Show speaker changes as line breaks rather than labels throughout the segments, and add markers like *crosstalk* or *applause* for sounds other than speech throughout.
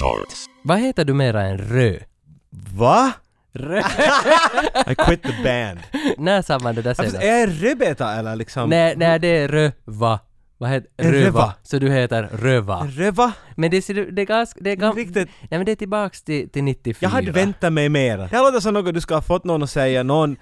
shorts.
Vad heter du mera än rö?
Va?
rö.
I quit the band.
*laughs* När sa man det där
Jag förstår,
senast?
är jag rödbeta eller liksom?
Nej, nej det är röva. Vad heter
Röva.
röva? Så du heter röva.
Röva?
Men det, ser du- det är ganska... Det är gam...
Riktigt.
Nej men det är tillbaks till, till 94.
Jag hade väntat mig mer. Det här låter som något du ska ha fått någon att säga, någon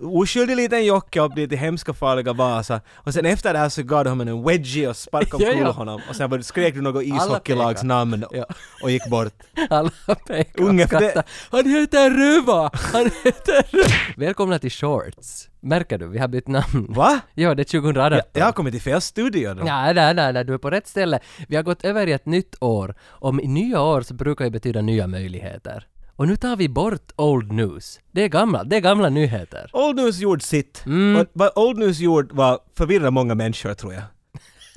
oskyldig liten jocke upp dit i hemska farliga Vasa och sen efter det här så gav du honom en wedgie och sparkade
Ja, ja.
omkull honom och sen var du- skrek du något ishockeylags
pekar.
namn och,
Ja.
och gick bort.
*laughs* Alla pekar
Unge,
och
för det-
skrattar. Han heter Röva! Han heter Röva! Välkomna till Shorts. Märker du? Vi har bytt namn.
Va?
Ja, det är 2018.
Jag har kommit till fel studio då.
Nej, nej, nej, nej, du är på rätt ställe. Vi har gått över i ett nytt år. Om nya år så brukar ju betyda nya möjligheter. Och nu tar vi bort old news. Det är gamla, det är gamla nyheter.
Old News gjorde sitt. Och vad Old News gjorde var förvirra många människor tror jag.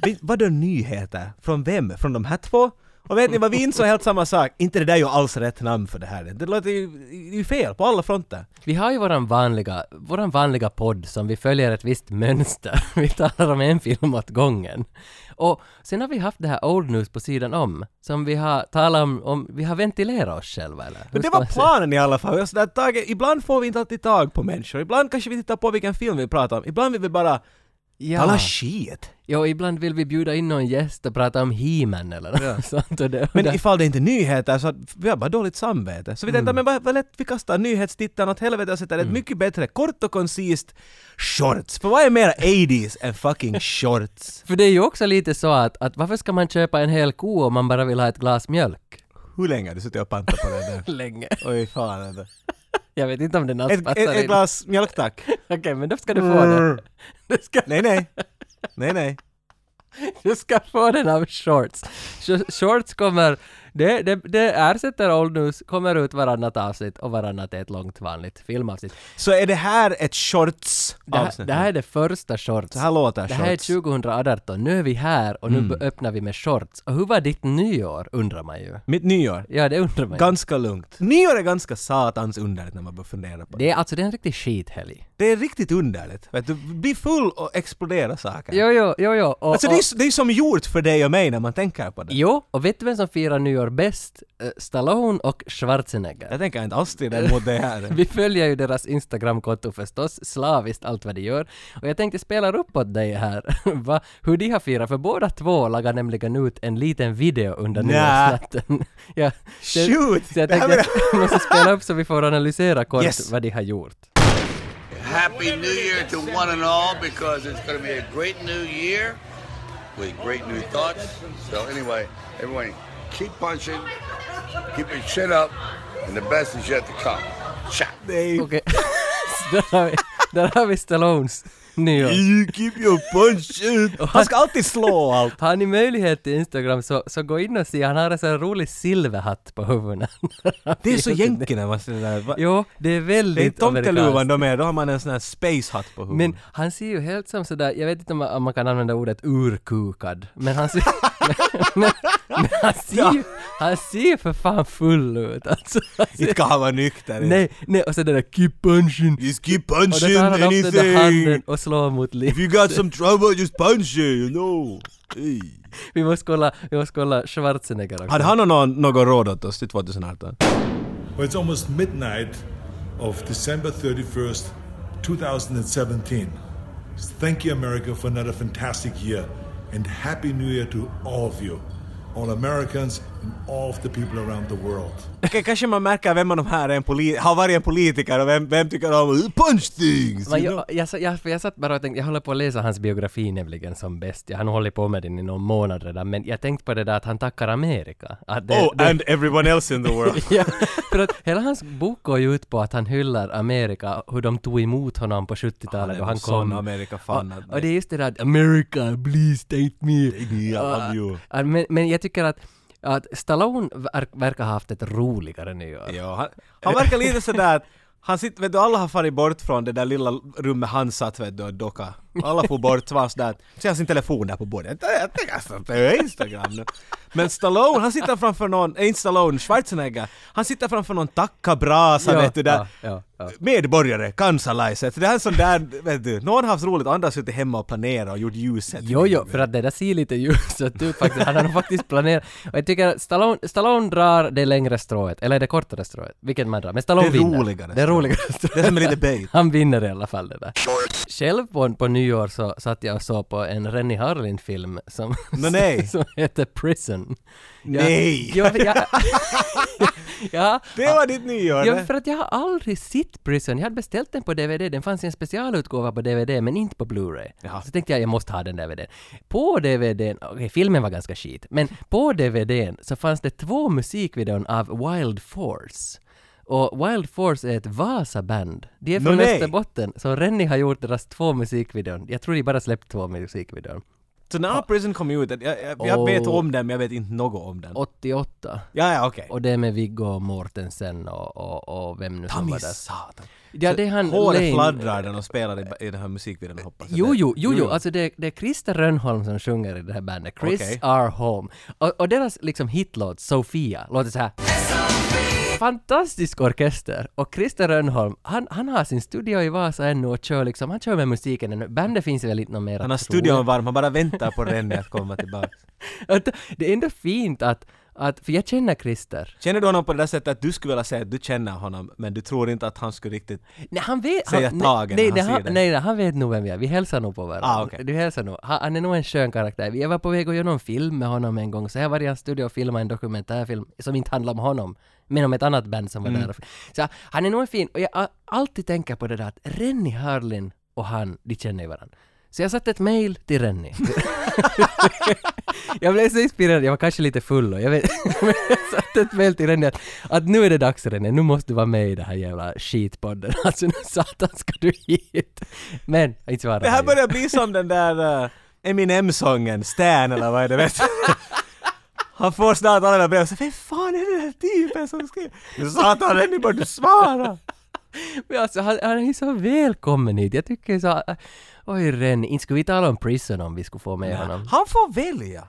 Vi- Vadå nyheter? Från vem? Från de här två? Och vet ni vad vi insåg helt samma sak? Inte det där är ju alls rätt namn för det här. Det låter ju, ju fel på alla fronter.
Vi har ju våran vanliga, våran vanliga podd som vi följer ett visst mönster. *laughs* Vi talar om en film åt gången. Och sen har vi haft det här old news på sidan om, som vi har talat om, om vi har ventilerat oss själva eller?
Men det var planen i alla fall. Jag sådär, taget, ibland får vi inte alltid tag på människor. Ibland kanske vi tittar på vilken film vi pratar om. Ibland vill vi bara tala
Ja.
shit.
ja, ibland vill vi bjuda in någon gäst och prata om He-Man eller något *laughs* sånt. Och det, och
Men
det-
ifall det inte är nyheter så att vi har bara dåligt samvete. Så vi tänkte, men vad, vad lätt vi kastar nyhetstittarna åt helvete och sätter ett mycket bättre, kort och koncist shorts. För vad är mer 80s än fucking shorts?
För det är ju också lite så att, att varför ska man köpa en hel ko om man bara vill ha ett glas mjölk?
Hur länge har du suttit och pantat på det där?
Länge.
*laughs* Oj fan alltså.
Jag vet inte om den alls
Ett, ett,
passar in.
ett glas Mm. mjölk *laughs* tack.
Okej, men då ska du få den. *laughs* Du ska,
Nej nej. Nej nej.
du ska få den av Shorts. Sh- Shorts kommer... Det, det, det ersätter Old News, kommer ut varannat avsnitt och varannat är ett långt vanligt filmavsnitt.
Så är det här ett shorts
Det här,
avsnitt?
det här är det första Shorts.
Så här låter
Det här är
shorts. Mm.
2018, nu är vi här och nu öppnar vi med shorts. Och hur var ditt nyår undrar man ju.
Mitt nyår.
Ja, det undrar man ju.
Ganska lugnt. Nyår är ganska satans underligt när man börjar fundera på det.
Det är alltså det är en riktig skithelg.
Det är riktigt underligt. Vet du, bli full och explodera saker.
Jo, jo, jo, jo. Och,
Alltså
och,
det är, ju- det är ju som gjort för dig och mig när man tänker på det.
Jo, och vet du vem som firar nyår bäst? Eh, Stallone och Schwarzenegger.
*laughs* Jag tänker inte alls till det mot det här.
*laughs* Vi följer ju deras Instagramkonto förstås, slaviskt allt vad de gör. Och jag tänkte spela upp åt dig här, *laughs* va, hur de har firat, för båda två lagar nämligen ut en liten video under
Nä.
nyårsnatten. *laughs* ja, det-
Shoot!
Så jag
Det här
tänkte att *laughs* jag måste spela upp så vi får analysera kort
Yes.
vad de har gjort. *laughs*
Happy New Year to one and all because it's going to be a great new year with great new thoughts. So, anyway, everyone, keep punching, keep your chin up, and the best is yet to come. Shot.
Det är ju-
Okej, Så där, har vi, där har vi Stallones nyår.
You keep your punch
*laughs*
out. Han ska alltid slå allt.
Har ni möjlighet till Instagram så, så gå in och se, han har en sån här rolig silverhatt på *laughs* huvudet.
Det är så jänke när man ser det där. Va?
jo, det är
Det är
väldigt
tomteluvan
amerikanskt.
de är, då Mm. har man en sån här space hat på huvudet.
Men han ser ju helt som sådär, jag vet inte om man, om man kan använda ordet urkukad, men han
*laughs*
ser, men, men han ser ju, han ser ju för fan full ut alltså. Han ser,
*laughs* Inte kan han vara nykter.
nej, nej, och så den där keep punching.
Just keep
Och då
punching
tar han upp den där handen
anything.
och slår mot
If
liv.
you got some trouble just punch it, you know. Hey.
Vi måste kolla, vi måste kolla Schwarzenegger också.
Hade han någon, något råd åt oss till 2018?
Well, it's almost midnight of December 31st, 2017. Thank you, America, for another fantastic year. And Happy New Year to all of you, all Americans, and all of the people around the world.
Okej, kanske man märker vem av de här är en poli- har varit en politiker och vem, vem tycker om punch things!
Men
you
jag,
know?
jag, sa- jag, för jag satt bara och tänkte, jag håller på att läsa hans biografi nämligen som bäst. Jag har nog hållit på med den i någon månad redan, men jag tänkte på det där att han tackar Amerika. Att det,
Oh,
det,
and everyone else in the
*laughs*
world.
ja, för att hela hans bok går ju ut på att han hyllar Amerika, hur de tog emot honom på 70-talet
Han är
då han
en sån
kom.
Amerika-fan att-
och, och det är just det där att America, please take me.
me, I
Och,
love you.
äh, Men, men jag tycker att, att Stallone verk, verkar ha haft ett roligare nyår.
ja, han, han verkar lite sådär att han sitter, vet du, alla har farit bort från det där lilla rummet han satt vet du och docka. Alla får bort, så var sådär. Ser sin telefon där på bordet. Jag tänker alltså, det är Instagram nu. Men Stallone, han sitter framför någon, äh, inte Stallone, Schwarzenegger. Han sitter framför någon tackabrasa
Ja,
Alltså, vet du där.
ja, ja, ja.
Medborgare, kansalaiset. Det här är sån där, vet du. Någon har haft roligt, andra har suttit hemma och planerat och gjort ljuset.
Jo, jo, för att det där ser lite ljust ut faktiskt. Han har nog faktiskt planerat. Och jag tycker att Stallone, Stallone drar det längre strået, eller det kortare strået, vilket man drar. Men Stallone
Det
vinner.
roligare
Det
strået.
roligare strået.
Det som är
*laughs*
lite bait.
Han vinner i alla fall det där. Själv på, på nyår så satt jag och såg på en Rennie Harlin-film som,
Men
*laughs*
nej.
som heter Prison. Jag-
Nej.
Jo, för jag, *laughs* ja,
Det var ditt nyår!
Ja,
det.
för att jag har aldrig sett Prison. Jag hade beställt den på DVD. Den fanns i en specialutgåva på DVD, men inte på Blu-ray.
Jaha.
Så tänkte jag, jag måste ha den där DVDn. På DVDn, okej, filmen var ganska skit, men på DVDn så fanns det två musikvideon av Wild Force. Och Wild Force är ett Vasa-band. De är
Nå,
från
nej.
Västerbotten, så Rennie har gjort deras två musikvideon. Jag tror de bara släppt två musikvideon.
Så när Prison kom ut, jag, jag, jag
Och-
vet om den men jag vet inte något om den.
88.
Ja, ja, okej.
Och det är med Viggo Mortensen och, och, och vem nu som var
Tammy
där.
satan.
Ja, det är han
Håret
Lane-
fladdrar när de spelar i, i den här musikvideon hoppas jag. Mm.
Jo,
Det-
jo, jo, jo. Alltså det, det är Christer Rönnholm som sjunger i det här bandet. Chris
Okej.
R. Holm. Och, och deras liksom hitlåt, Sofia, låter så här. Fantastisk orkester! Och Christer Rönnholm, han, han har sin studio i Vasa ännu och kör liksom, han kör med musiken ännu. Bandet finns väl inte något mer
Han har
att tro.
studion varm, han bara väntar på Rennie att komma tillbaka.
*laughs* Att Det är ändå fint att, att, för jag känner Christer.
Känner du honom på det där sättet att du skulle vilja säga att du känner honom men du tror inte att han skulle riktigt...
Nej, han vet...
Säga
han,
tagen
nej,
när
nej,
han
han,
ser dig.
nej, nej, han vet nog vem vi är. Vi hälsar nog på varandra.
Ah, okej.
Du hälsar nog. Han, han är nog en skön karaktär. Jag var på väg att göra någon film med honom en gång, så jag var i hans studio och filmade en dokumentärfilm som inte handlar om honom, men om ett annat band som var
Mm.
där. Så han är nog en fin... Och jag a- alltid tänker på det där att Rennie Harlin och han, de känner ju varandra. Så jag satte ett mail till Rennie. jag blev så inspirerad, jag var kanske lite full och jag vet... *laughs* men jag satte ett mail till Rennie att, att nu är det dags Rennie, nu måste du vara med i den här jävla skitpodden. *laughs* Alltså nu satan ska du hit. Men, inte svarade
Det här
han ju.
börjar bli som den där eh, Eminem-sången, Stan eller vad är det vet du?
*laughs*
Han får snart alla de där breven och säger Vem fan är den här typen som skriver? Satan Rennie, borde du svara!
Men alltså, han, han är ju så välkommen hit. Jag tycker så... Oj Rennie, inte skulle vi tala om Prison om vi skulle få med honom.
Han får välja!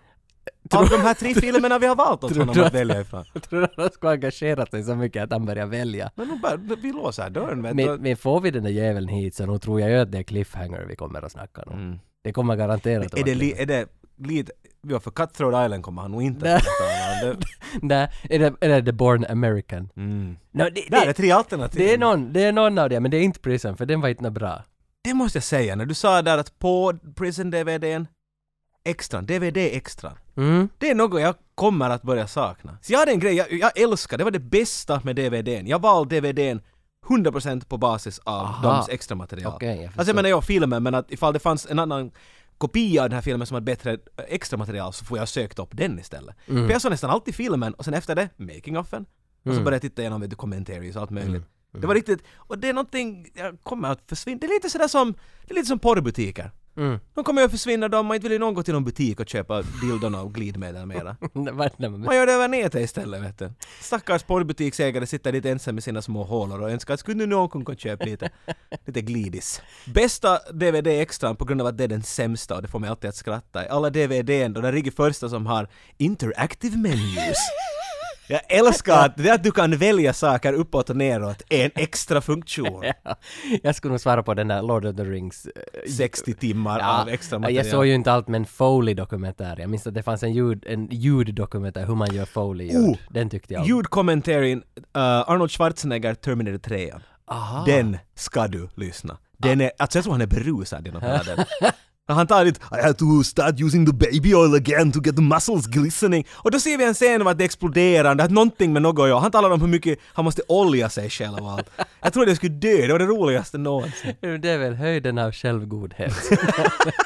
Av de här tre filmerna vi har valt åt honom
du
att
att-
välja ifrån.
Jag tror att han skulle engagera sig så mycket att han börjar välja.
Men nu bara, vi låser dörren vet du.
Men, men får vi den där jäveln hit så nog tror jag ju att det är cliffhanger vi kommer att snacka om. Det kommer garanterat att
Mm.
vara
Är det, li,
cliffhanger.
är det lite... Ja, för Cutthroat Island kommer han nog inte att prata om. Det-
*laughs* Nej, är det, är det The Born American?
Mm.
No, det, det,
Där är
det,
tre alternativ.
är någon, det är någon av dem, men det är inte Prison för den var inte nå bra.
Det måste jag säga, när du sa där att på Prison-DVDn, extran, DVD-extran.
*laughs* Mm.
Det är något jag kommer att börja sakna. Så jag hade en grej, jag, jag älskar, det var det bästa med DVDn. Jag valde DVDn 100% på basis av
Aha.
deras extra material.
Okej, jag
alltså
förstår.
jag menar jag filmen, men att ifall det fanns en annan kopia av den här filmen som hade bättre eh, extra material så får jag sökt upp den istället.
Mm.
För jag såg nästan alltid filmen och sen efter det, making offen. Och så började jag titta igenom vet du, commentaries och allt möjligt.
Mm.
Det var riktigt, och det är någonting, jag kommer att försvinna, det är lite sådär som, det är lite som porrbutiker.
Mm.
De kommer ju att försvinna då, man inte vill ju någon gå till någon butik och köpa dildon och glidmedel mera.
Nej, vad- nej, men-
Man gör det över nätet istället vet du. Stackars porrbutiksägare sitter lite ensam med sina små hålor och önskar att skulle nu någon kunna
*laughs*
köpa lite, lite glidis. Bästa DVD-extran på grund av att det är den sämsta och det får mig alltid att skratta. I Alla DVDn, då den ligger första som har interactive menus. Jag älskar att, det är att du kan välja saker uppåt och neråt är en
*laughs*
extra funktion.
Jag skulle nog svara på den där Lord of the Rings... eh,
60 timmar av extra material.
jag såg ju inte allt men Foley-dokumentär. Jag minns att det fanns en, ljud, en ljuddokumentär, hur man gör Foley-ljud.
Oh!
Den tyckte jag om.
Ljudkommentarien eh, Arnold Schwarzenegger Terminator 3.
Aha.
Den ska du lyssna. Den är, alltså jag tror han är berusad
*laughs*
genom hela den. När Han tar dit I had to start using the baby oil again to get the muscles glistening. Och då ser vi en scen om att det exploderar, det har någonting med något att göra. Han talar om hur mycket han måste olja sig själv och allt. Jag trodde jag skulle dö, det var det roligaste någonsin.
*laughs* Det är väl höjden av självgodhet.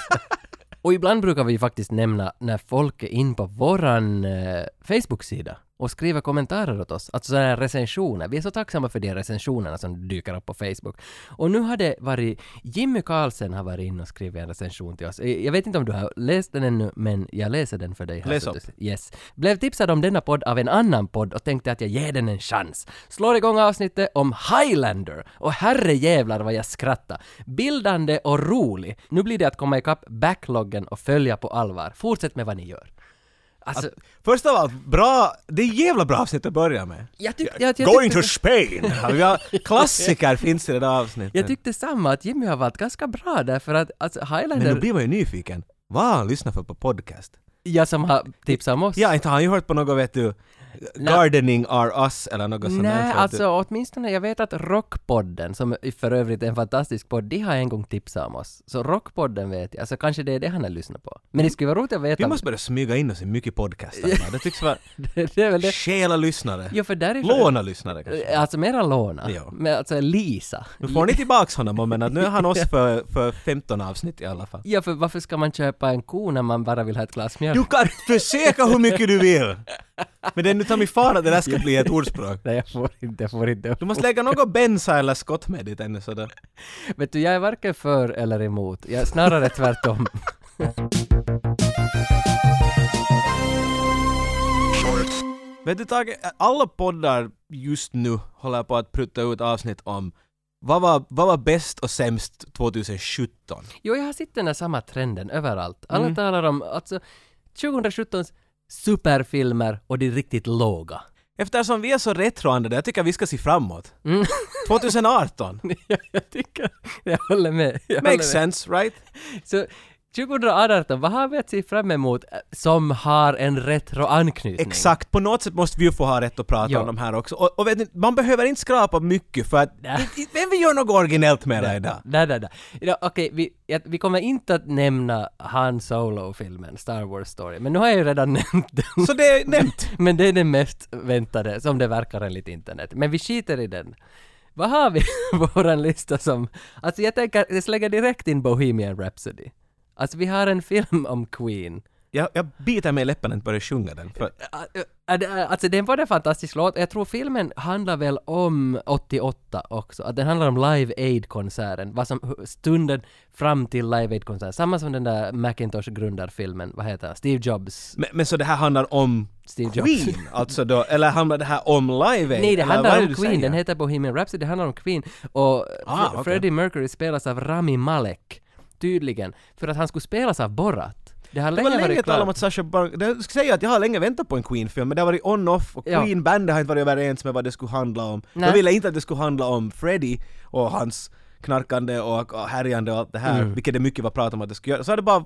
*laughs* och ibland brukar vi ju faktiskt nämna när folk är in på våran eh, Facebook-sida och skriver kommentarer åt oss, alltså sådana här recensioner. Vi är så tacksamma för de recensionerna som dyker upp på Facebook. Och nu har det varit, Jimmy Karlsson har varit inne och skrivit en recension till oss. Eh, Jag vet inte om du har läst den ännu, men jag läser den för dig. här,
Läs
så att du
upp.
Yes. Blev tipsad om denna podd av en annan podd och tänkte att jag ger den en chans. Slår igång avsnittet om Highlander och herre jävlar vad jag skrattar. Bildande och rolig. Nu blir det att komma ikapp backloggen och följa på allvar. Fortsätt med vad ni gör. Alltså,
Först av allt, bra, det är jävla bra avsnitt att börja med.
jag tyckte... Jag, jag
Going
tyckte,
to Spain! Vi har-
*laughs*
Klassiker finns i det där avsnittet.
jag tyckte samma, att Jimmy har varit ganska bra där för att alltså
Men
Highlander,
nu blir man ju nyfiken. Vad har han lyssnat för på podcast?
jag som har tipsat om oss.
Ja, inte har han ju hört på något vet du, Gardening are us eller något sånt där,
Nej,
vet du.
alltså åtminstone jag vet att Rockpodden, som för övrigt är en fantastisk podd, de har en gång tipsat om oss. Så Rockpodden vet jag, alltså kanske det är det han har lyssnat på. Men det skulle vara roligt att
Vi
veta.
måste börja smyga in oss i mycket podcastar. Det tycks vara...
*laughs* det är väl det.
Stjäla lyssnare.
Jo, för därifrån...
Låna lyssnare kanske.
Alltså mera låna.
Ja.
Men alltså Lisa.
Nu får ni tillbaks honom om en att nu är
*laughs*
han oss för, för 15 avsnitt i alla fall.
Ja, för varför ska man köpa en ko när man bara vill ha ett glas mjölk?
Du kan försöka hur mycket du vill! Men det är nu ta mig fan att det där ska bli ett ordspråk.
Nej, jag får inte, jag får inte.
Du måste lägga något bensa eller skott med dit ännu sådär.
Vet du, jag är varken för eller emot. Jag är snarare tvärtom.
Vet du Tage, alla poddar just nu håller på att prutta ut avsnitt om vad var, vad var bäst och sämst 2017?
Jo, jag har sett den där samma trenden överallt. Alla
Mm.
talar om alltså 2017 superfilmer och de riktigt
*laughs*
låga.
Eftersom vi är så retroandade, jag tycker vi ska se framåt. *laughs*
Mm.
2018!
jag, jag tycker, jag håller med. Jag
Makes
håller med.
sense, right?
Så 2018, vad har vi att se fram emot eh, som har en retroanknytning?
Exakt, på något sätt måste vi ju få ha rätt att prata
Ja.
om de här också. Och, och vet ni, man behöver inte skrapa mycket för att...
Nej.
Men vi gör något originellt med det idag.
Nej, nej, nej. Ja, Okej, vi, jag- vi kommer inte att nämna Han Solo-filmen, Star Wars Story, men nu har jag ju redan *laughs* nämnt den.
Så det är nämnt.
Men det är den mest väntade, som det verkar enligt internet. Men vi skiter i den. Vad har vi *laughs* på våran lista som... Alltså jag tänker, jag slänger direkt in Bohemian Rhapsody. Alltså vi har en film om Queen.
Jag, jag biter mig i läppen att inte börja sjunga den. För
Ä- ä- ä- Alltså det var en fantastisk låt, jag tror filmen handlar väl om 88 också, att den handlar om Live Aid-konserten, vad som, hu- stunden fram till Live Aid-konserten, samma som den där Macintosh-grundarfilmen, vad heter han, Steve Jobs?
men, men så det här handlar om
Steve Jobs.
Queen, alltså då? Eller handlar det här om Live Aid?
Nej, det
eller vad är
handlar
det
om
du
Queen.
säger?
Den heter Bohemian Rhapsody. Det handlar om Queen. Och
Ah,
Fre-
okej.
Freddie Mercury spelas av Rami Malek. Tydligen. För att han skulle spelas av Borat. Det har
Det
länge
var länge
varit
tal
klart.
om att Sasha Baron... det- Jag ska säga att jag har länge väntat på en Queen-film, men det har varit on-off och
Ja.
Queen-bandet har inte varit överens med vad det skulle handla om.
Nej.
De ville inte att det skulle handla om Freddie och hans knarkande och och härjande och allt det här, vilket det mycket var prat om att det skulle göra. Så har det bara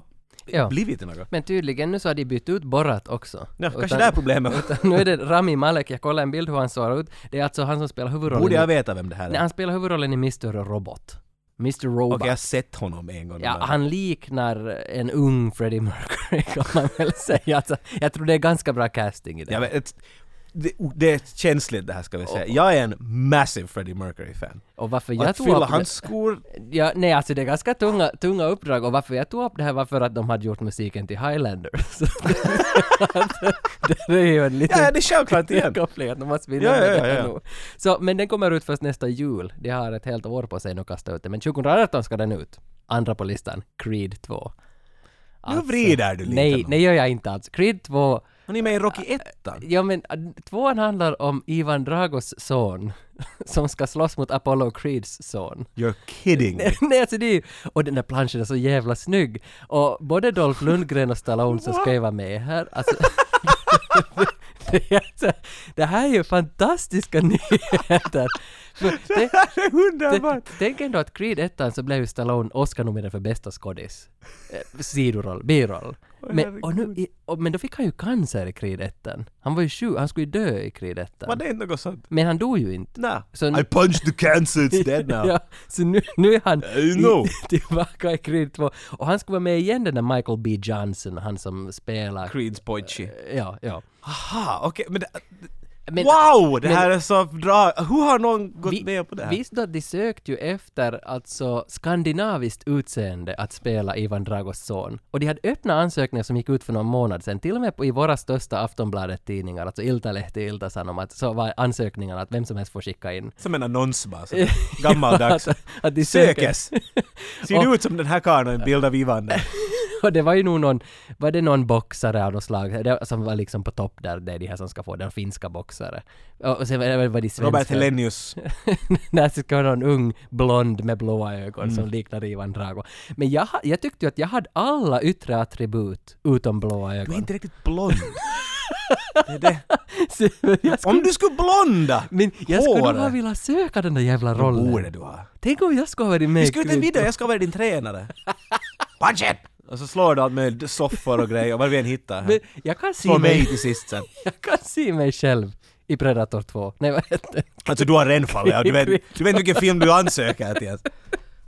Mm. Ja.
blivit till något.
Men tydligen nu så har de bytt ut Borat också.
Ja, kanske
Utan-
det här är problemet.
utan *laughs* Nu är det Rami Malek. Jag kollade en bild hur han såg ut. Det är alltså han som spelar huvudrollen.
Borde jag
i,
veta vem det här är?
nej, alltså-
Okej,
han spelar huvudrollen i Mr. Robot. Mr. Robot.
jag har sett honom en gång.
Ja,
Men-
han liknar en ung Freddie Mercury *laughs* kan man väl säga. Alltså, jag tror det är ganska bra casting i det.
jag vet, ett- det, det är känsligt det här ska vi säga. Jag är en massive Freddie Mercury-fan.
Och varför
Och
jag
Att
tog upp
fylla
det-
hans
*laughs*
skor
Ja, nej alltså det är ganska tunga, tunga uppdrag och varför jag tog upp det här var för att de hade gjort musiken till Highlander. *laughs* Så det, det är ju en liten
Ja, det är självklart igen.
koppling att de måste vinna
Ja, ja,
med det
ja,
här
ja.
nu. Så, men den kommer ut först nästa jul. De har ett helt år på sig nu att kasta ut den. Men 2018 ska den ut. Andra på listan, Creed 2. Alltså,
vrider du lite
Nej,
nu.
nej Ah. gör jag inte alls. Creed 2
Han är med i Rocky 1
Ja men äh, tvåan handlar om Ivan Dragos son *laughs* som ska slåss mot Apollo Creeds son.
You're kidding me.
*laughs* Nej alltså det är ju, och den där planschen är så jävla snygg. Och både Dolph Lundgren och Stallone som ska ju vara med här. Alltså, *laughs* det, är alltså, det här är ju fantastiska *laughs* nyheter. För tänk-
Det är underbart!
tänk- Tänk ändå att Creed 1 så blev ju Stallone Oscar-nominerad för bästa skådis. Eh, Sidoroll, biroll. Men, och nu, i- och, men då fick han ju cancer i Creed 1. Han var ju sjuk, han skulle ju dö i Creed 1.
Var det inte något sånt?
Men han dog ju inte.
Nä.
Så nu-
I punched the cancer,
*laughs*
it's dead now.
Ja, så nu, nu är han
you know.
i, *laughs* tillbaka i Creed 2. Och han ska vara med igen den där Michael B. Johnson, han som spelar...
Creeds pojke.
Ja, ja.
Aha, okej, men det,
Men-
wow! Det
men-
här är så bra! Hur har någon gått med på det här?
Visst du att de sökte ju efter alltså skandinaviskt utseende att spela Ivan Dragos son? Och de hade öppna ansökningar som gick ut för någon månad sedan, till och med på, i våra största Aftonbladet-tidningar, alltså Iltalehti och Iltasanom, att så var ansökningarna att vem som helst får skicka in.
Som en annons
*laughs*
bara, så. gammaldags.
Att- att de söker. *laughs*
Sökes! Ser du ut som den här karln och en bild av Ivan där?
*laughs* Och det var ju nog någon, var det någon boxare av något slag det, som var liksom på topp där, det är de här som ska få den finska boxare. Och och sen var det, var det svenska. *laughs*
Robert Hellenius.
när det ska vara någon ung blond med blåa ögon
Mm.
som liknar Ivan Drago. Men jag, ha- jag tyckte ju att jag hade alla yttre attribut utom blåa
Du
ögon.
är inte riktigt blond. Det är det.
*laughs* Så jag skulle,
Om du skulle blonda!
men jag skulle nog
Håret.
ha velat söka den där jävla rollen.
borde du ha.
Tänk om jag skulle ha varit med
Vi ska ut en video, jag ska vara din tränare. Punch it! Och så slår du allt med soffor och grejer, vad vi än hittar.
Men jag kan se
Slå mig
mig,
till sist sen.
*laughs* jag kan se mig själv i Predator 2. Nej vad heter det?
Alltså du har renfall, ja. du, vet, du vet vilken film du ansöker till. Alltså.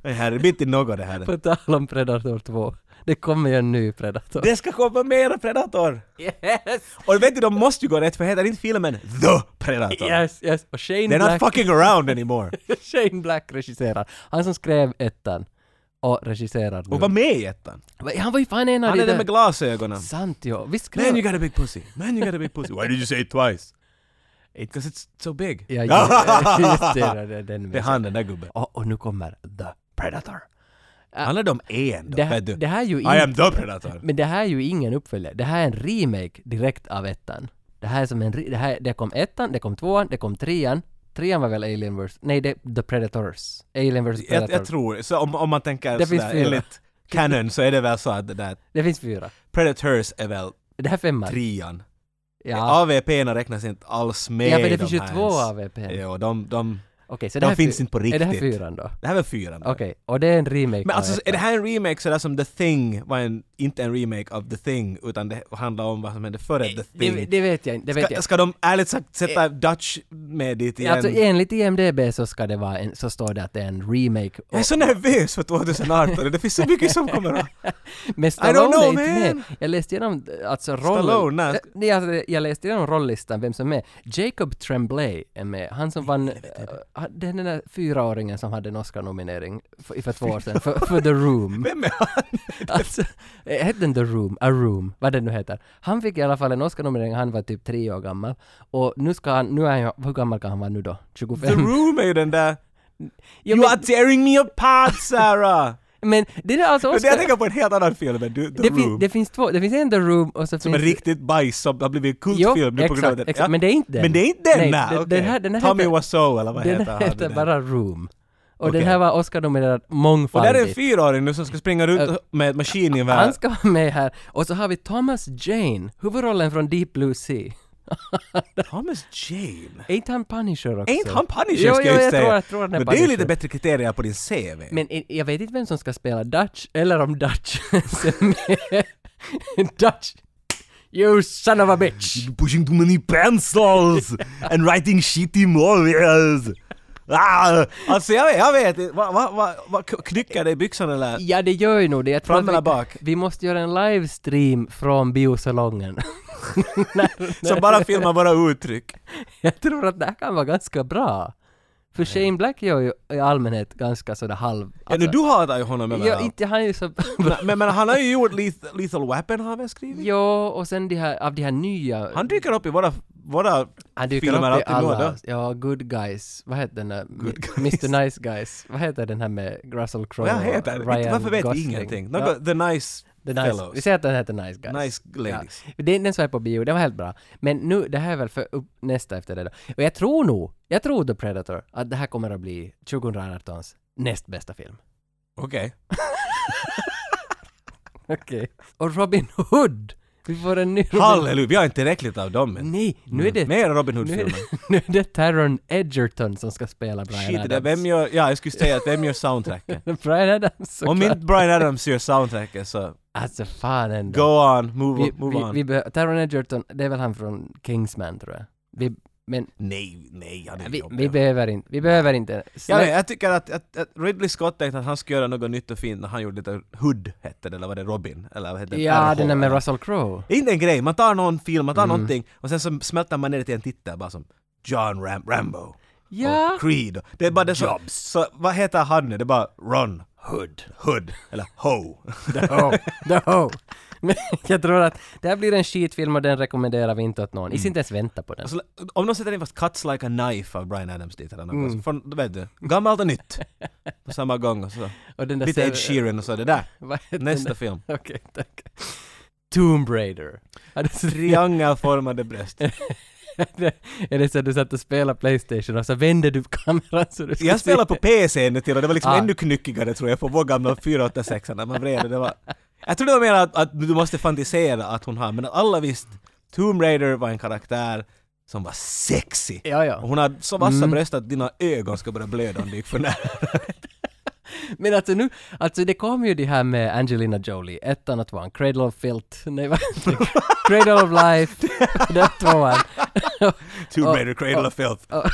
Det här är mitt i något det här.
På tal om Predator 2. Det kommer ju en ny Predator.
Det ska komma mera Predator!
Yes!
Och vet du, de måste ju gå rätt för heter inte filmen The Predator?
Yes, yes. Och Shane
They're not
Black,
fucking around anymore!
*laughs* Shane Black regisserar. Han som skrev ettan och regisserar nu.
Och var med i ettan.
Va- Han var ju fan en av
Han
de
är den
där...
med glasögonen.
Sant jo. Visst
Man you
skrev...
got a big pussy. Man you got a big pussy. Why did you say it twice? Because it's so big. *laughs*
Ja, ju- just det, det, det, den
Det är han den där gubben.
och, och nu kommer The Predator.
Handlar det om en då?
Det, här-
vet du?
det här är ju
I am
in,
the predator.
Men det här är ju ingen uppföljare. Det här är en remake direkt av ettan. Det här är som en... re- Det, här, det kom ettan, det kom tvåan, det kom trean. Trean var väl Alien vs... Nej, det The Predators. Alien vs
Jag,
Predator.
jag tror, så om, om man tänker
Det finns
sådär
fyra.
enligt canon så är det väl så att det där
Det finns fyra.
Predators är väl
Det här är femman.
trean.
Ja.
AVP'na räknas inte alls med
Ja, för
i
det
de
finns ju
här
två
ens.
AVP. Okej,
Jo, de, de,
så det
de
här är
finns
fy-
inte på
Är det här
riktigt.
fyran då?
det här var fyran. då.
Okej, och det är en remake
Men
av
alltså är
ettan.
det här en remake sådär som The Thing var en, inte en remake av The Thing utan det handlar om vad som hände före The Thing.
Eh, Det, det vet jag inte. Det vet
ska,
jag. Eh,
ska de ärligt sagt sätta Dutch med dit igen?
Alltså enligt IMDB så ska det vara en, så står det att det är en remake.
jag är
Och,
så nervös för 2018, det finns så mycket som kommer att...
*laughs* men
don't
Stallone
know,
är inte
man.
med. Jag läste igenom alltså roll...
Stallone, nej.
Äh, nej. Alltså, jag läste igenom rolllistan, vem som är med. Jacob Tremblay är med. Han som vann... äh, det är den där fyraåringen som hade en Oscar-nominering för, för två år sedan, för, för The
*laughs*
Room.
Vem är
*laughs*
han?
Alltså, eh, hette den The Room? A Room? Vad den nu heter. Han fick i alla fall en Oscar-nominering, han var typ tre år gammal. Och nu ska han, nu är han, hur gammal kan han vara nu då? 25?
The Room är ju den där...
Ja,
you
men-
are tearing me apart
*laughs*
Sarah!
*laughs* Men det är alltså
Men
Oscar...
jag tänker på en helt annan film än du, The
det, fin-
Room.
det finns två, det finns en The Room och så
som är
finns...
riktigt bajs som har blivit en
Jo,
kultfilm nu på grund av
exakt,
den.
exakt, men det är inte den.
Men det är inte den!
Nej,
nä,
den-
okej.
den här- den här
Tommy
heter-
Wiseau eller vad
Den
heter han?
heter
den där?
bara Room. Och
Okej.
den här var Oscar-nominerad
Och där är en
mångfaldigt.
fyraåring nu som ska springa
Ö,
ut med ett
Han
maskingevär.
ska vara med här. Och så har vi Thomas Jane, huvudrollen från Deep Blue Sea.
Thomas Jane?
Är inte han Punisher också?
Är inte han Punisher
Jo,
ska
jo,
ju
jag
säga.
tror, jag tror han är
Men det är ju
Punisher.
lite bättre kriterier på din CV.
Men i- jag vet inte vem som ska spela Dutch, eller om Dutch *laughs* ens är med. Dutch! You son of a bitch!
Pushing too many pencils and writing shitty movies. Ah, alltså jag vet, jag vet inte. va, va, va, va, knycker det i byxan eller?
Ja, det gör ju nog det. Jag tror
Fram
att
eller
vi-
bak?
Vi måste göra en livestream från biosalongen.
Som bara filmar våra uttryck.
jag tror att det här kan vara ganska bra. För Shane Black gör ju i allmänhet ganska sådär halv...
Ja, nu, du hatar ju honom
alltså,
eller?
ja, inte han är ju så... *laughs*
Men- Men, men han har ju gjort Leth- Lethal Weapon har han väl skrivit?
ja, och sen de här, av de här nya...
Han dyker upp i våra, våra
han
filmer alltid då.
Ja, Good Guys. Vad heter den där?
Good
Mr Nice Guys. Vad heter den här med Russell Crowe
Vad han heter?
och Ryan
Varför vet vi
Gosling?
ingenting?
Ja,
Något, The Nice
the nice,
Fellows.
Vi säger att den heter Nice Guys.
Nice Ladies.
Ja. Den, den såg jag på bio, den var helt bra. Men nu, det här är väl för upp, nästa efter det då. Och jag tror nog, jag tror The Predator, att det här kommer att bli 2018s näst bästa film. *laughs*
Okej.
Okej. Och Robin Hood! Vi får en ny Robin
Halleluja, vi har inte tillräckligt av dem än.
Nej, nu är det...
Mm. Mer Robin
nu är,
Hood-filmer.
det- *laughs* nu är det Taron Edgerton som ska spela Brian
Shit, det
Adams.
där, vem gör, ja jag skulle säga att vem gör *laughs* soundtracken?
*laughs* Brian Adams såklart.
Om inte Brian Adams gör soundtracken så,
Alltså fan ändå.
go on, move,
vi,
move
vi,
on.
vi behöver... Taron Edgerton, det är väl han från Kingsman tror jag. Vi, Men
Nej, nej, han är
vi,
jobbig.
vi behöver inte, vi behöver inte.
Ja, nej, jag tycker att, att, att Ridley Scott tänkte att han skulle göra något nytt och fint när han gjorde lite Hood, hette det, eller var det Robin? Eller vad hette det?
ja
Arrow.
den där med Russell Crowe.
Det är inte en grej, man tar någon film, man tar
Mm.
någonting och sen så smälter man ner det till en titel bara som John Ram- Rambo.
Ja.
Och Creed. Det är bara det som... Så, vad heter han nu? Det är bara Ron Hood. Hood. Eller *laughs* Ho.
Oh, *laughs* the Ho. Men jag tror att det här blir en skitfilm och den rekommenderar vi inte åt någon.
Mm.
Ni ska inte ens vänta på den.
Så, Alltså, om någon sätter in fast Cuts Like a Knife av Brian Adams dit eller något.
Mm.
så Från, du vet du, gammalt och nytt. På samma gång och så.
Och den där
Lite
ser-
Ed Sheeran och så det där.
*laughs* Vad heter
Nästa
den?
film.
*laughs* Okej, tack. Tomb Raider. Har du sett- *laughs*
Triangelformade bröst.
Är det så att du satt och spelade Playstation och så vände du kameran så du skulle
Jag spelade på PC nu till och det var liksom
Ah.
ännu knyckigare tror jag på vår gamla 486 när man vred det. det var... Jag tror det var mer att, att du måste fantisera att hon har, men alla visst, Tomb Raider var en karaktär som var sexy.
Ja, ja. Mm.
Och hon hade så vassa bröst att dina ögon ska börja blöda om du gick
*laughs*
för nära.
Men alltså nu, alltså det kom ju det här med Angelina Jolie, ettan och tvåan, Cradle of Filth, nej vad Cradle of Life, det var tvåan.
Tomb
Och-
Raider, Cradle of Filth.
och,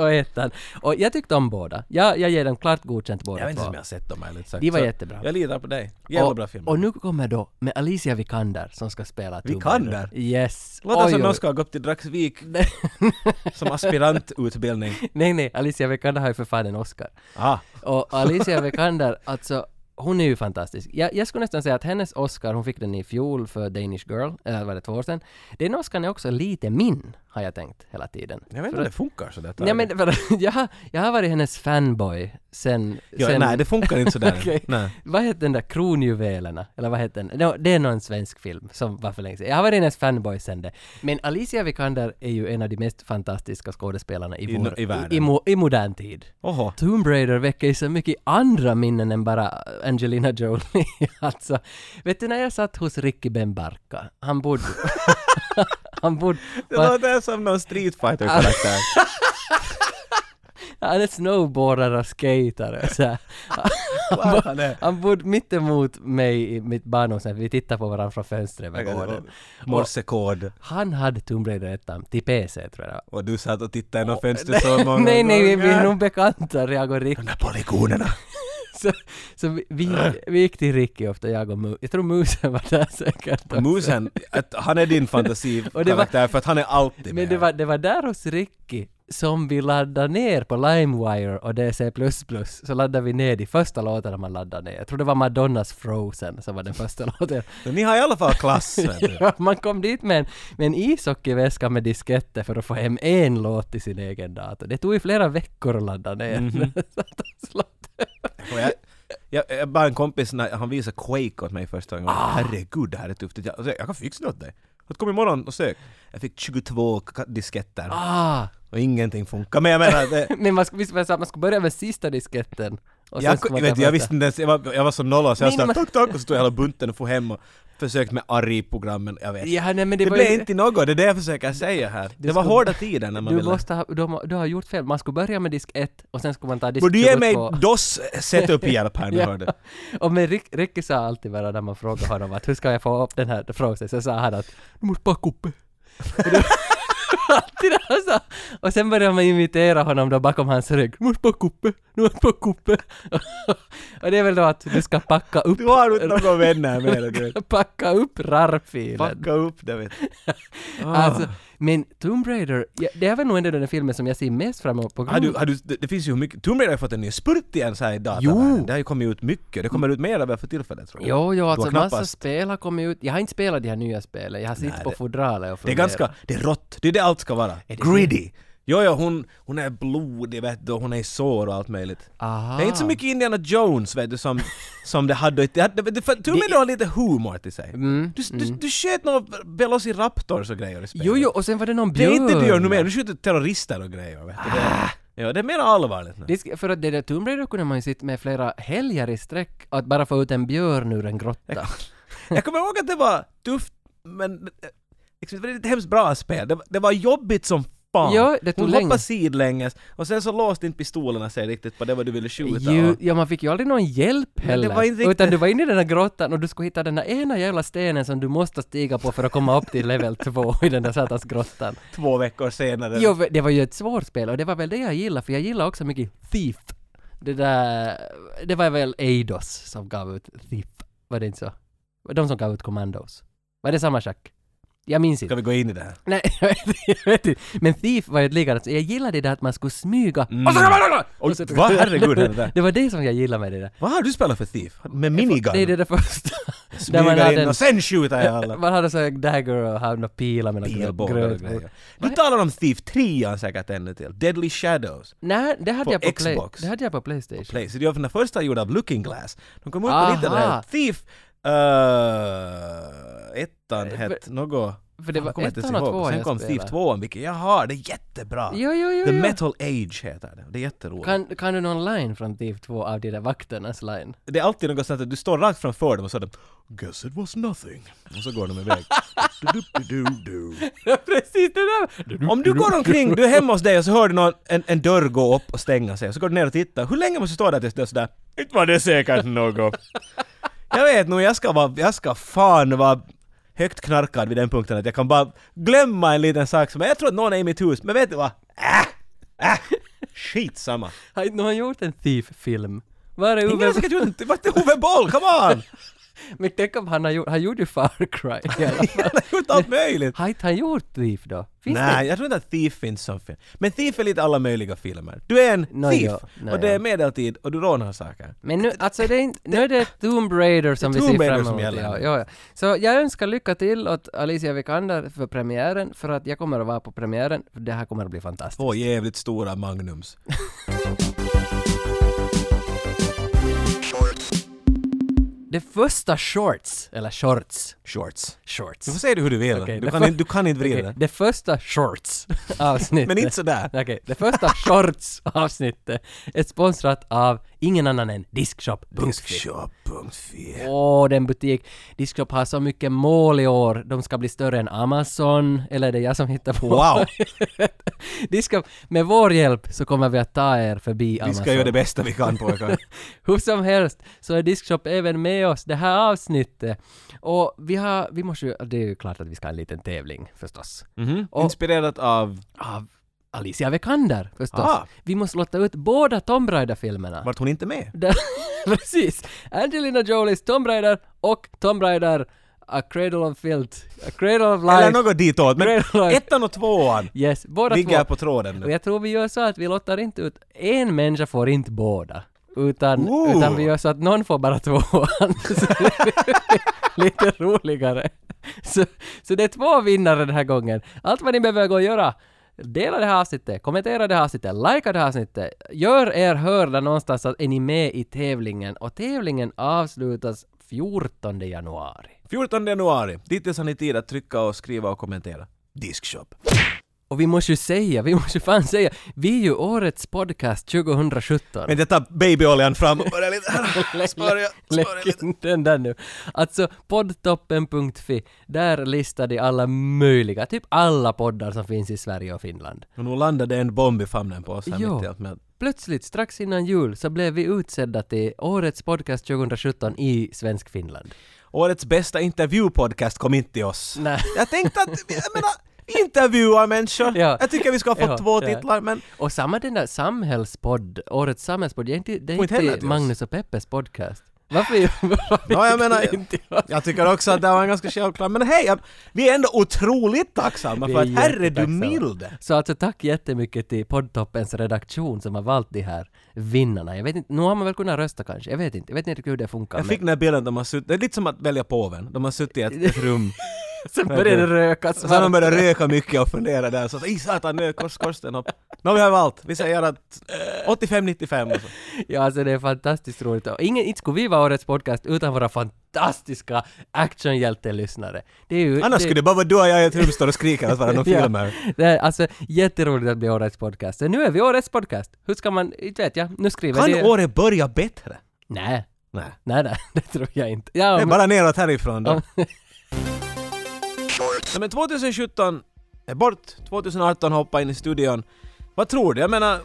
och ettan. Och jag tyckte om båda. Jag, jag ger dem klart godkänt båda
Jag vet inte
två.
om jag har sett dem ärligt sagt.
De var
Så
jättebra.
Jag litar på dig. Jävla
och,
bra film.
Och nu kommer då med Alicia Vikander som ska spela Tomb
Vikander?
Raider. Yes.
Låter
Oj,
som
oj.
någon ska ha gått till Dragsvik
*laughs*
som aspirantutbildning.
Nej, nej, Alicia Vikander har ju för fan en Oscar.
Ah.
Och Alicia Vikander, alltså hon är ju fantastisk. Jag, jag skulle nästan säga att hennes Oscar, hon fick den i fjol för Danish Girl, eller var det två år sedan. Den Oscarn är också lite min, har jag tänkt hela tiden.
Jag vet inte
För
om det
att-
funkar sådär.
Nej men för, *laughs* jag, har- jag har varit hennes fanboy sen...
Ja,
sen *laughs*
nej, det funkar inte sådär.
Okej.
nej.
Vad heter den där Kronjuvelerna? Eller vad heter den? No, det är någon svensk film som var för länge sedan. Jag har varit hennes fanboy sen det. Men Alicia Vikander är ju en av de mest fantastiska skådespelarna i,
I
vår,
no- i världen.
I, mo, i modern tid.
Oho.
Tomb Raider väcker ju så mycket andra minnen än bara Angelina Jolie. *laughs* alltså, vet du när jag satt hos Ricky Benbarka, han bodde... *laughs* han bodde...
Det låter som någon Street fighter
Ah. *laughs*
karaktär
Han är snowboardare och skatare. Så
*laughs*
här.
Fan, han är-
han bodde mitt emot mig i mitt barndomshem, vi tittade på varandra från fönstret över gården.
Morsekod.
Han hade Tomb Raider 1 till PC tror jag.
Och du satt och tittade genom fönstret så många
*laughs* nej, nej, vi, vi är
gånger.
nog bekanta, jag och Rick.
De där polygonerna.
*laughs* Så, så vi, vi, vi gick till Ricky ofta, jag och Mu. Jag tror musen var där säkert också.
Musen, att han är din
*laughs* Och det var-
fantasikaraktär för att han är alltid
Men
med.
det var, det var där hos Ricky som vi laddade ner på LimeWire och DC++. Så laddade vi ner de första låtarna man laddade ner. Jag tror det var Madonnas Frozen som var den första *laughs* låten.
Så ni har i alla
*laughs*
fall klass. vet du.
Ja, man kom dit med en, med en ishockeyväska med disketter för att få hem en låt till sin egen dator. Det tog ju flera veckor att ladda ner.
Mhm.
*laughs* Så att han slapp-
Och jag, jag, jag bara en kompis, när han visade Quake åt mig första gången.
Ah.
Herregud, det här är tufft. Jag, alltså, jag, jag kan fixa det åt dig. Jag kom imorgon och sök. Jag fick 22 ka- disketter
ah,
och ingenting funkar. Men jag menar, det,
men man, sk- visst var det så att man skulle börja med sista disketten? *laughs* Och sen
jag,
skulle man
jag, vet,
ta
inte, jag
bort-
visste inte ens, jag var, jag var så nolla så jag
Nej, nej,
sa
men-
tack tack och så tog jag hela bunten och for hem och försökte med ARI-programmen, jag vet.
Ja, nej, men det
det
var
blev
ju-
inte något, det är det jag försöker säga här. Det var
skulle-
hårda tider när man
Du
ville...
måste ha, du, har- du har gjort fel. Man skulle börja med disk 1 och sen skulle man ta disk
Borde du ge mig
22.
DOS setup-hjälp här nu
*laughs* Ja.
hörde.
Och men Rick, Ricky sa alltid bara när man frågade honom att hur ska jag få upp den här frågan så sa han att du måste backa upp. Och det- *laughs* Alltid det han sa. Och sen började man imitera honom då bakom hans rygg. Du måste backa upp, du måste backa upp. *laughs* Och det är väl då att du ska packa upp,
Du har inte några vänner med dig.
packa upp rarfilen.
Packa upp det vet
*laughs*
du.
Alltså, men Tomb Raider, ja, det är väl nog ändå den filmen som jag ser mest fram emot på
Har
grund
du, har du, det, det finns ju hur mycket, Tomb Raider har fått en ny spurt igen så här i datavärlden.
Mm. Jo.
Det har ju kommit ut mycket, det kommer ut mer av för tillfället tror jag.
Jo, jo,
Du har
alltså
knappast-
massa spel har kommit ut. Jag har inte spelat de här nya spelen, jag har suttit på
det-
fodralet och
Det är
funderat.
ganska, det är rått, det är det allt ska vara. Gritty! Jo, jo, hon, hon är blodig vet du, och hon är i sår och allt möjligt.
Aha.
Det är inte så mycket Indiana Jones vet
*laughs*
du som, som det hade, det hade det, för, Tomb Raider har lite humor till sig.
Mm,
du, du, du sköt några Velociraptors och grejer i spelet.
Jo, jo, och sen var det någon
Det
björn. Ah.
är inte du gör nu mer, du skjuter terrorister och grejer vet du. Det, ja, det är mer allvarligt nu.
Det ska, för att det där Tomb Raider kunde man ju sitta med flera helger i sträck, att bara få ut en björn ur en grotta.
Jag kommer ihåg att det var tufft, men eh, liksom, det var ett hemskt bra spel. Det, var- det var jobbigt som fan!
Ja, det tog
Hon
länge.
hoppade sidlänges och sen så låste inte pistolerna sig riktigt på det vad du ville skjuta.
Ju, ja, man fick ju aldrig någon hjälp
det
heller.
var inte riktigt-
Utan du var inne i den där grottan och du skulle hitta den där ena jävla stenen som du måste stiga på för att komma upp till level 2 i den där satans grottan.
Två veckor senare.
Jo, det var ju ett svårt spel och det var väl det jag gillade, för jag gillar också mycket Thief. Det där... Det var väl Eidos som gav ut Thief, var det inte så? Var De som gav ut Commandos. Var det samma schack? Jag minns inte.
Ska vi gå in i det här?
Nej, *laughs* jag vet inte, jag vet inte. Men Thief var ju ett likadant, så jag gillade det där att man skulle smyga och så
Mm. Oj, vad herregud hände där?
*laughs* Det var det som jag gillade med det där.
Vad har du spelat för Thief? Med minigun?
Det är det där
*laughs*
första.
Smyga in
*laughs*
och sen skjuter jag alla!
Man hade så här dagger och hade några pilar med några
Pilbågar
gröt-
och grejer. Du talar om Thief 3 säkert ännu till. Deadly Shadows.
Nej, det hade
På
jag på Play-
Xbox.
Det hade jag på Playstation.
Play. Så det var den första gjord av Looking Glass. De kom upp och hittade det
Aha.
här. Thief... eh, ettan hette något...
För det
Jag
var
kommer inte
ettan och
ens ihåg.
tvåan
Sen
jag
kom Thief
spelade.
2, vilket jag har. Det är jättebra.
Jo, jo, jo,
The
jo.
Metal Age heter det. Det är jätteroligt.
Kan, kan du någon line från Thief 2 av de där vakternas
*laughs*
line?
Det är alltid något sånt att du står rakt framför dem och så är det Guess it was nothing. Och så går
*laughs*
de iväg. Du-du-du-du-du.
Precis det där!
Om du går omkring, du är hemma hos dig och så hör du någon, en, en dörr gå upp och stänga sig. Och så går du ner och tittar. Hur länge måste du stå där tills det är sådär? Inte var det säkert något. *laughs* jag vet nog, jag ska vara, jag ska fan vara högt knarkad vid den punkten att jag kan bara glömma en liten sak som jag tror att någon är i mitt hus, men vet du vad? Äh! Äh! Skitsamma.
Har inte någon gjort en Thief-film? Var är
Ingen har
Uwe?
säkert gjort det. Vart är Ove Boll? Come *laughs* on!
*laughs* Men tänk om han har gjort, han gjorde ju Far
*laughs*
Cry i alla
Han
fall.
har gjort allt *laughs* möjligt.
Har inte han gjort Thief då? Finns
Nej,
det?
jag tror inte att Thief finns som film. Men Thief är lite alla möjliga filmer. Du är en
Nå,
thief!
ja. Nå,
och det är
ja.
medeltid och du rånar saker.
Men nu, alltså det är inte, nu är det Tomb Raider som
Det är
vi ser
Tomb
fram
Raider som
emot.
gäller.
ja, ja, ja. Så jag önskar lycka till åt Alicia Vikander för premiären, för att jag kommer att vara på premiären, för det här kommer att bli fantastiskt.
Två jävligt stora magnums.
Det första shorts, eller shorts,
Shorts.
shorts.
Du får säga det hur du vill.
Okej,
du,
det
kan,
för-
inte- du kan inte vrida
Okej,
det.
det första
*laughs*
shorts avsnittet.
Men inte sådär.
Okej, det första shorts avsnittet är sponsrat av ingen annan än Diskshop.fi.
Shop.fi.
Åh, den butik. Diskshop har så mycket mål i år. De ska bli större än Amazon. Eller är det jag som hittar på?
Wow!
*laughs* Diskshop, med vår hjälp så kommer vi att ta er förbi
Vi
Amazon.
ska göra det bästa vi
*laughs*
kan pojkar.
Hur som helst så är Diskshop även med oss det här avsnittet. Och vi har, vi måste ju, det är ju klart att vi ska ha en liten tävling förstås.
Mhm. Inspirerat av
av Alicia Vikander förstås.
Ah.
Vi måste låta ut båda Tomb Raider-filmerna.
vart hon inte med.
*laughs* Där- Precis! Angelina Jolies Tomb Raider och Tomb Raider A Cradle of Filth, A Cradle of
Eller
Life.
något ditåt. Men
Great Life.
ettan och tvåan
Yes, båda
ligger
två.
på tråden
Och
nu.
jag tror vi gör så att vi lottar inte ut, en människa får inte båda. Utan,
Ooh.
utan vi gör så att någon får bara tvåan. *laughs* Så det blir Lite roligare. Så, så det är två vinnare den här gången. Allt vad ni behöver gå och göra Dela det här avsnittet, kommentera det här avsnittet, likea det här avsnittet. Gör er hörda någonstans så att är ni med i tävlingen och tävlingen avslutas 14 januari.
14 januari. Dittills har ni tid att trycka och skriva och kommentera. Diskshop.
Och vi måste ju säga, vi måste ju fan säga, vi är ju årets podcast 2017.
Men jag tar babyoljan fram och börjar lite här. Smörja,
Lägg
smörja lite.
in den där nu. Alltså poddtoppen.fi, där listar de alla möjliga, typ alla poddar som finns i Sverige och Finland.
Och *laughs* nu landade en bomb i famnen på oss här
Ja.
mitt i allt med.
Plötsligt, strax innan jul, så blev vi utsedda till Årets podcast 2017 i Svensk Finland.
Årets bästa intervjupodcast kom inte till oss.
Nej.
Jag tänkte att, jag menar, intervjua människor.
Ja.
Jag tycker vi ska ha fått
Ja,
två
ja.
titlar men
Och samma den där samhällspodd, Årets samhällspodd, det är inte, det är
Får inte heller
inte
till oss.
Magnus och Peppes podcast. Varför? *laughs* varför
Ja, jag
gick det
menar-
inte till oss?
jag tycker också att det var en ganska självklar. Men hej, jag, vi är ändå otroligt tacksamma
Vi
för
är
att herre du
jättetacksamma.
mild.
Så alltså tack jättemycket till Poddtoppens redaktion som har valt de här vinnarna. Jag vet inte, nu har man väl kunnat rösta kanske? Jag vet inte, jag vet inte riktigt hur det funkar.
Jag fick den här bilden, de har suttit, det är lite som att välja påven. De har suttit
*laughs*
i ett, ett rum.
men, *laughs* sen började det röka.
Så har de börjat röka mycket och fundera där. Så att, i satan, nu är kors, korsten upp. Nu har vi valt. Vi säger att 85-95 och så.
Ja, alltså det är fantastiskt roligt. Och ingen, inte skulle vi vara årets podcast utan våra fantastiska actionhjältelyssnare. Det är ju...
Annars skulle det bara vara du och jag i ett rum står och skriker åt varandra och filmer.
Ja, det är alltså jätteroligt att bli årets podcast. Så nu är vi årets podcast. Hur ska man, inte vet jag, nu skriver
Kan
det...
året börja bättre?
Nej,
Nej.
nej, *laughs* nej, det tror jag inte. Ja,
Det är
men-
*laughs* bara neråt härifrån då.
Ja.
Nej men 2017 är bort, 2018 hoppar in i studion. Vad tror du? Jag menar,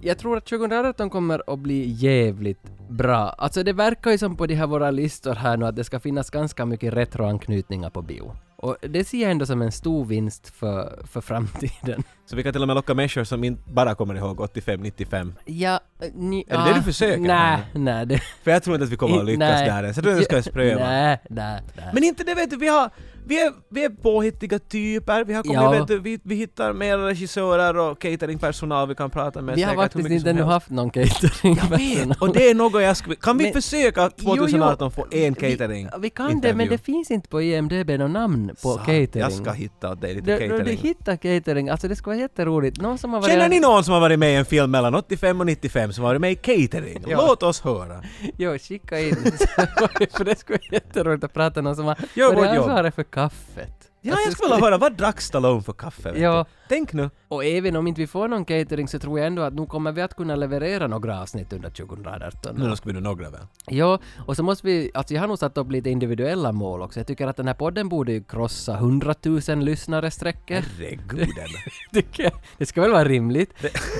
Jag tror att 2018 kommer att bli jävligt bra. Alltså det verkar ju som på de här våra listor här nu att det ska finnas ganska mycket retroanknytningar på bio. Och det ser jag ändå som en stor vinst för, för framtiden.
så vi kan till och med locka människor som inte bara kommer ihåg 85-95.
*laughs* Ja, ni,
Är det det du försöker?
Nej, nej. Det,
För jag tror inte att vi kommer att lyckas
nej.
där ens. Jag tror att
*laughs*
vi ska ens pröva.
Nej, nej, nej.
Men inte det vet du, vi har... Vi är, vi är påhittiga typer, vi har kommit,
Ja.
vet du, vi, vi hittar mer regissörer och cateringpersonal vi kan prata med
vi har
säkert hur
faktiskt
mycket
inte
som
ännu
helst.
haft någon catering.
Vet, och det är något jag skulle... Kan vi
Men-
försöka att
Jo, jo.
2018 få en catering?
Vi, vi kan det, men det finns inte på IMDB något namn på
Sa,
catering.
Jag ska hitta åt dig lite
Du, du, du
catering.
hittar catering, alltså det skulle vara jätteroligt. Någon som har varit...
Känner ni någon som har varit med i en film mellan 85 och 95 som har varit med i catering?
Ja.
Låt oss höra.
Jo, skicka in. *laughs* för det skulle vara jätteroligt att prata med någon som har...
Gör
Vad är
vårt jobb.
ansvarig för kaffet.
Ja,
Alltså, *laughs*
jag skulle vilja höra, vad drack Stallone för kaffe? vet
Ja.
du? Tänk nu.
Och även om inte vi får någon catering så tror jag ändå att nu kommer vi att kunna leverera några avsnitt under 2018.
Nu ska vi nu några väl?
Ja, och så måste vi, alltså jag har nog satt upp lite individuella mål också. Jag tycker att den här podden borde ju krossa 100 000
*laughs*
lyssnare-strecket.
Herreguden.
*laughs* Tycker jag. Det ska väl vara rimligt?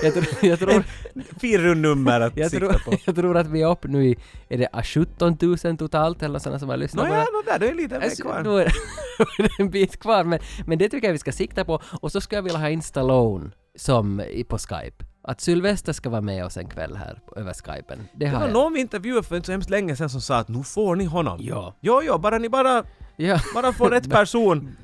Jag, tror- jag,
*laughs*
tror,
Firrunummer att
jag,
sikta på.
tror, *laughs* jag tror att vi är uppe nu i, är det ah, 17 000 totalt eller sådana som har lyssnat på det
Nåja, no, där, det är lite mer
Alltså,
kvar.
Då är det *laughs* en bit kvar, men, men det tycker jag vi ska sikta på. Och så ska jag vilja ha in Stallone som i, på Skype. Att Sylvester ska vara med oss en kväll här på- över Skypen. Det
Det
har
var
jag.
någon vi intervjuade för inte så hemskt länge sedan som sa att nu får ni honom.
Ja.
Jo, jo, bara ni bara,
Ja,
bara
*laughs*
får rätt person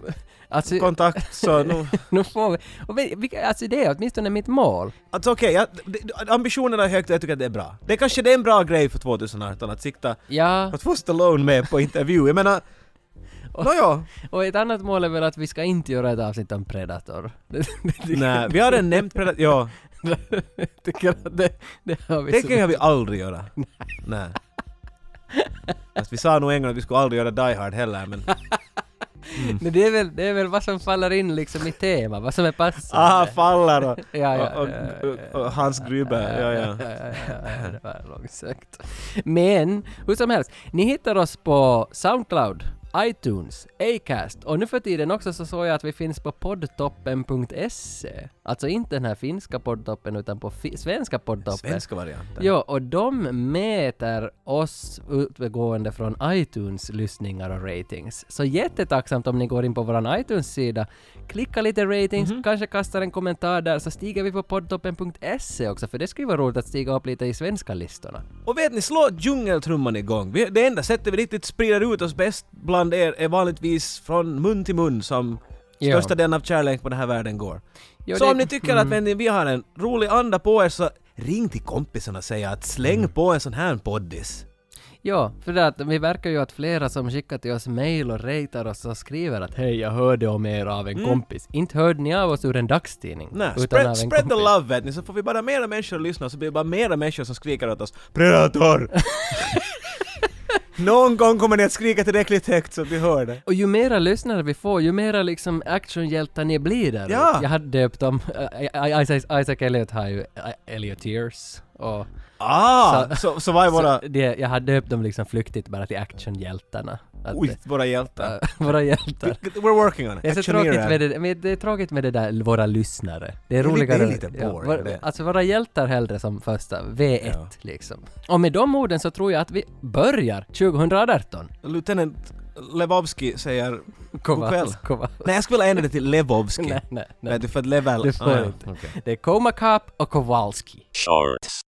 alltså,
kontakt så nu...
nu får vi, och vi, vi, alltså det är åtminstone mitt mål.
Alltså okej, jag- det- ambitionerna är högt och jag tycker att det är bra. Det kanske det är en bra grej för 2018 att sikta
Ja,
att få Stallone med på intervju.
*laughs*
Jag menar... Nåja,
och ett annat mål är väl att vi ska inte göra ett avsnitt om Predator. *laughs* Det, *laughs* det tycker-
nej, vi har redan nämnt Predator. Ja,
jag tycker att det, det har vi
det
som-
kan vi
*laughs*
aldrig göra. Nej. Fast vi sa nog en gång att vi skulle aldrig göra Die Hard
*laughs*
heller, men...
Men det är, väl, det är väl vad som faller in liksom i tema, vad som är passande.
Ah, faller och,
*laughs* Ja, ja,
och,
ja,
och, och, och Hans Gruber,
*laughs*
ja, ja.
Det var långsökt. Men, hur som helst, ni hittar oss på Soundcloud, iTunes, Acast och nu för tiden också så såg jag att vi finns på poddtoppen.se. Alltså inte den här finska poddtoppen utan på fi- svenska poddtoppen.
Svenska varianten.
Ja, och de mäter oss utgående från iTunes lyssningar och ratings. Så jättetacksamt om ni går in på vår iTunes-sida, klicka lite ratings,
Mhm.
kanske kastar en kommentar där, så stiger vi på poddtoppen.se E också, för det skulle ju vara roligt att stiga upp lite i svenska listorna.
Och vet ni, slå djungeltrumman igång. Vi, det enda sättet vi riktigt sprider ut oss bäst bland er är vanligtvis från mun till mun som
Ja.
största delen av kärlek på den här världen går.
Jo,
så
det-
om ni tycker att vänner, vi har en rolig anda på er så ring till kompisen och säg att släng på en sån här poddis.
Ja, för det att vi verkar ju att flera som skickar till oss mail och ratear oss och skriver att hej, jag hörde om er av en kompis. Inte hörde ni av oss ur en dagstidning,
Mm. Nej,
av en
spread, spread the
kompis.
love vet ni, så får vi bara mera människor att lyssna så blir det bara mera människor som skriker åt oss Predator! *laughs* Någon gång kommer ni att skrika tillräckligt högt så att vi hör det.
Och ju mera lyssnare vi får, ju mera liksom actionhjältar ni blir där
Ja.
ute. Jag hade döpt om, Ä- Ä- Isaac, Isaac Elliot har ju Ä- Elliot Years och
Ah! Så, så, vad är våra,
så det, jag hade döpt dem liksom flyktigt bara till actionhjältarna. Att,
oj, våra hjältar?
äh, *laughs* våra hjältar.
We're working on it.
Det är, så
Actionera.
tråkigt med det, men det är tråkigt med det där, våra lyssnare. Det är
Det är lite-
roligare...
det är lite boring,
vår-
det.
Alltså våra hjältar hellre som första, V1
Ja.
liksom. Och med de orden så tror jag att vi börjar 2018.
Lieutenant Levovski säger... kväll.
Kovac.
Nej, jag skulle vilja ändra det till
*laughs*
Levovski.
Nej, nej, nej.
du för att level...
Det får jag
ja,
inte.
okej.
Det är Koma Cop och Kowalski.
Shorts.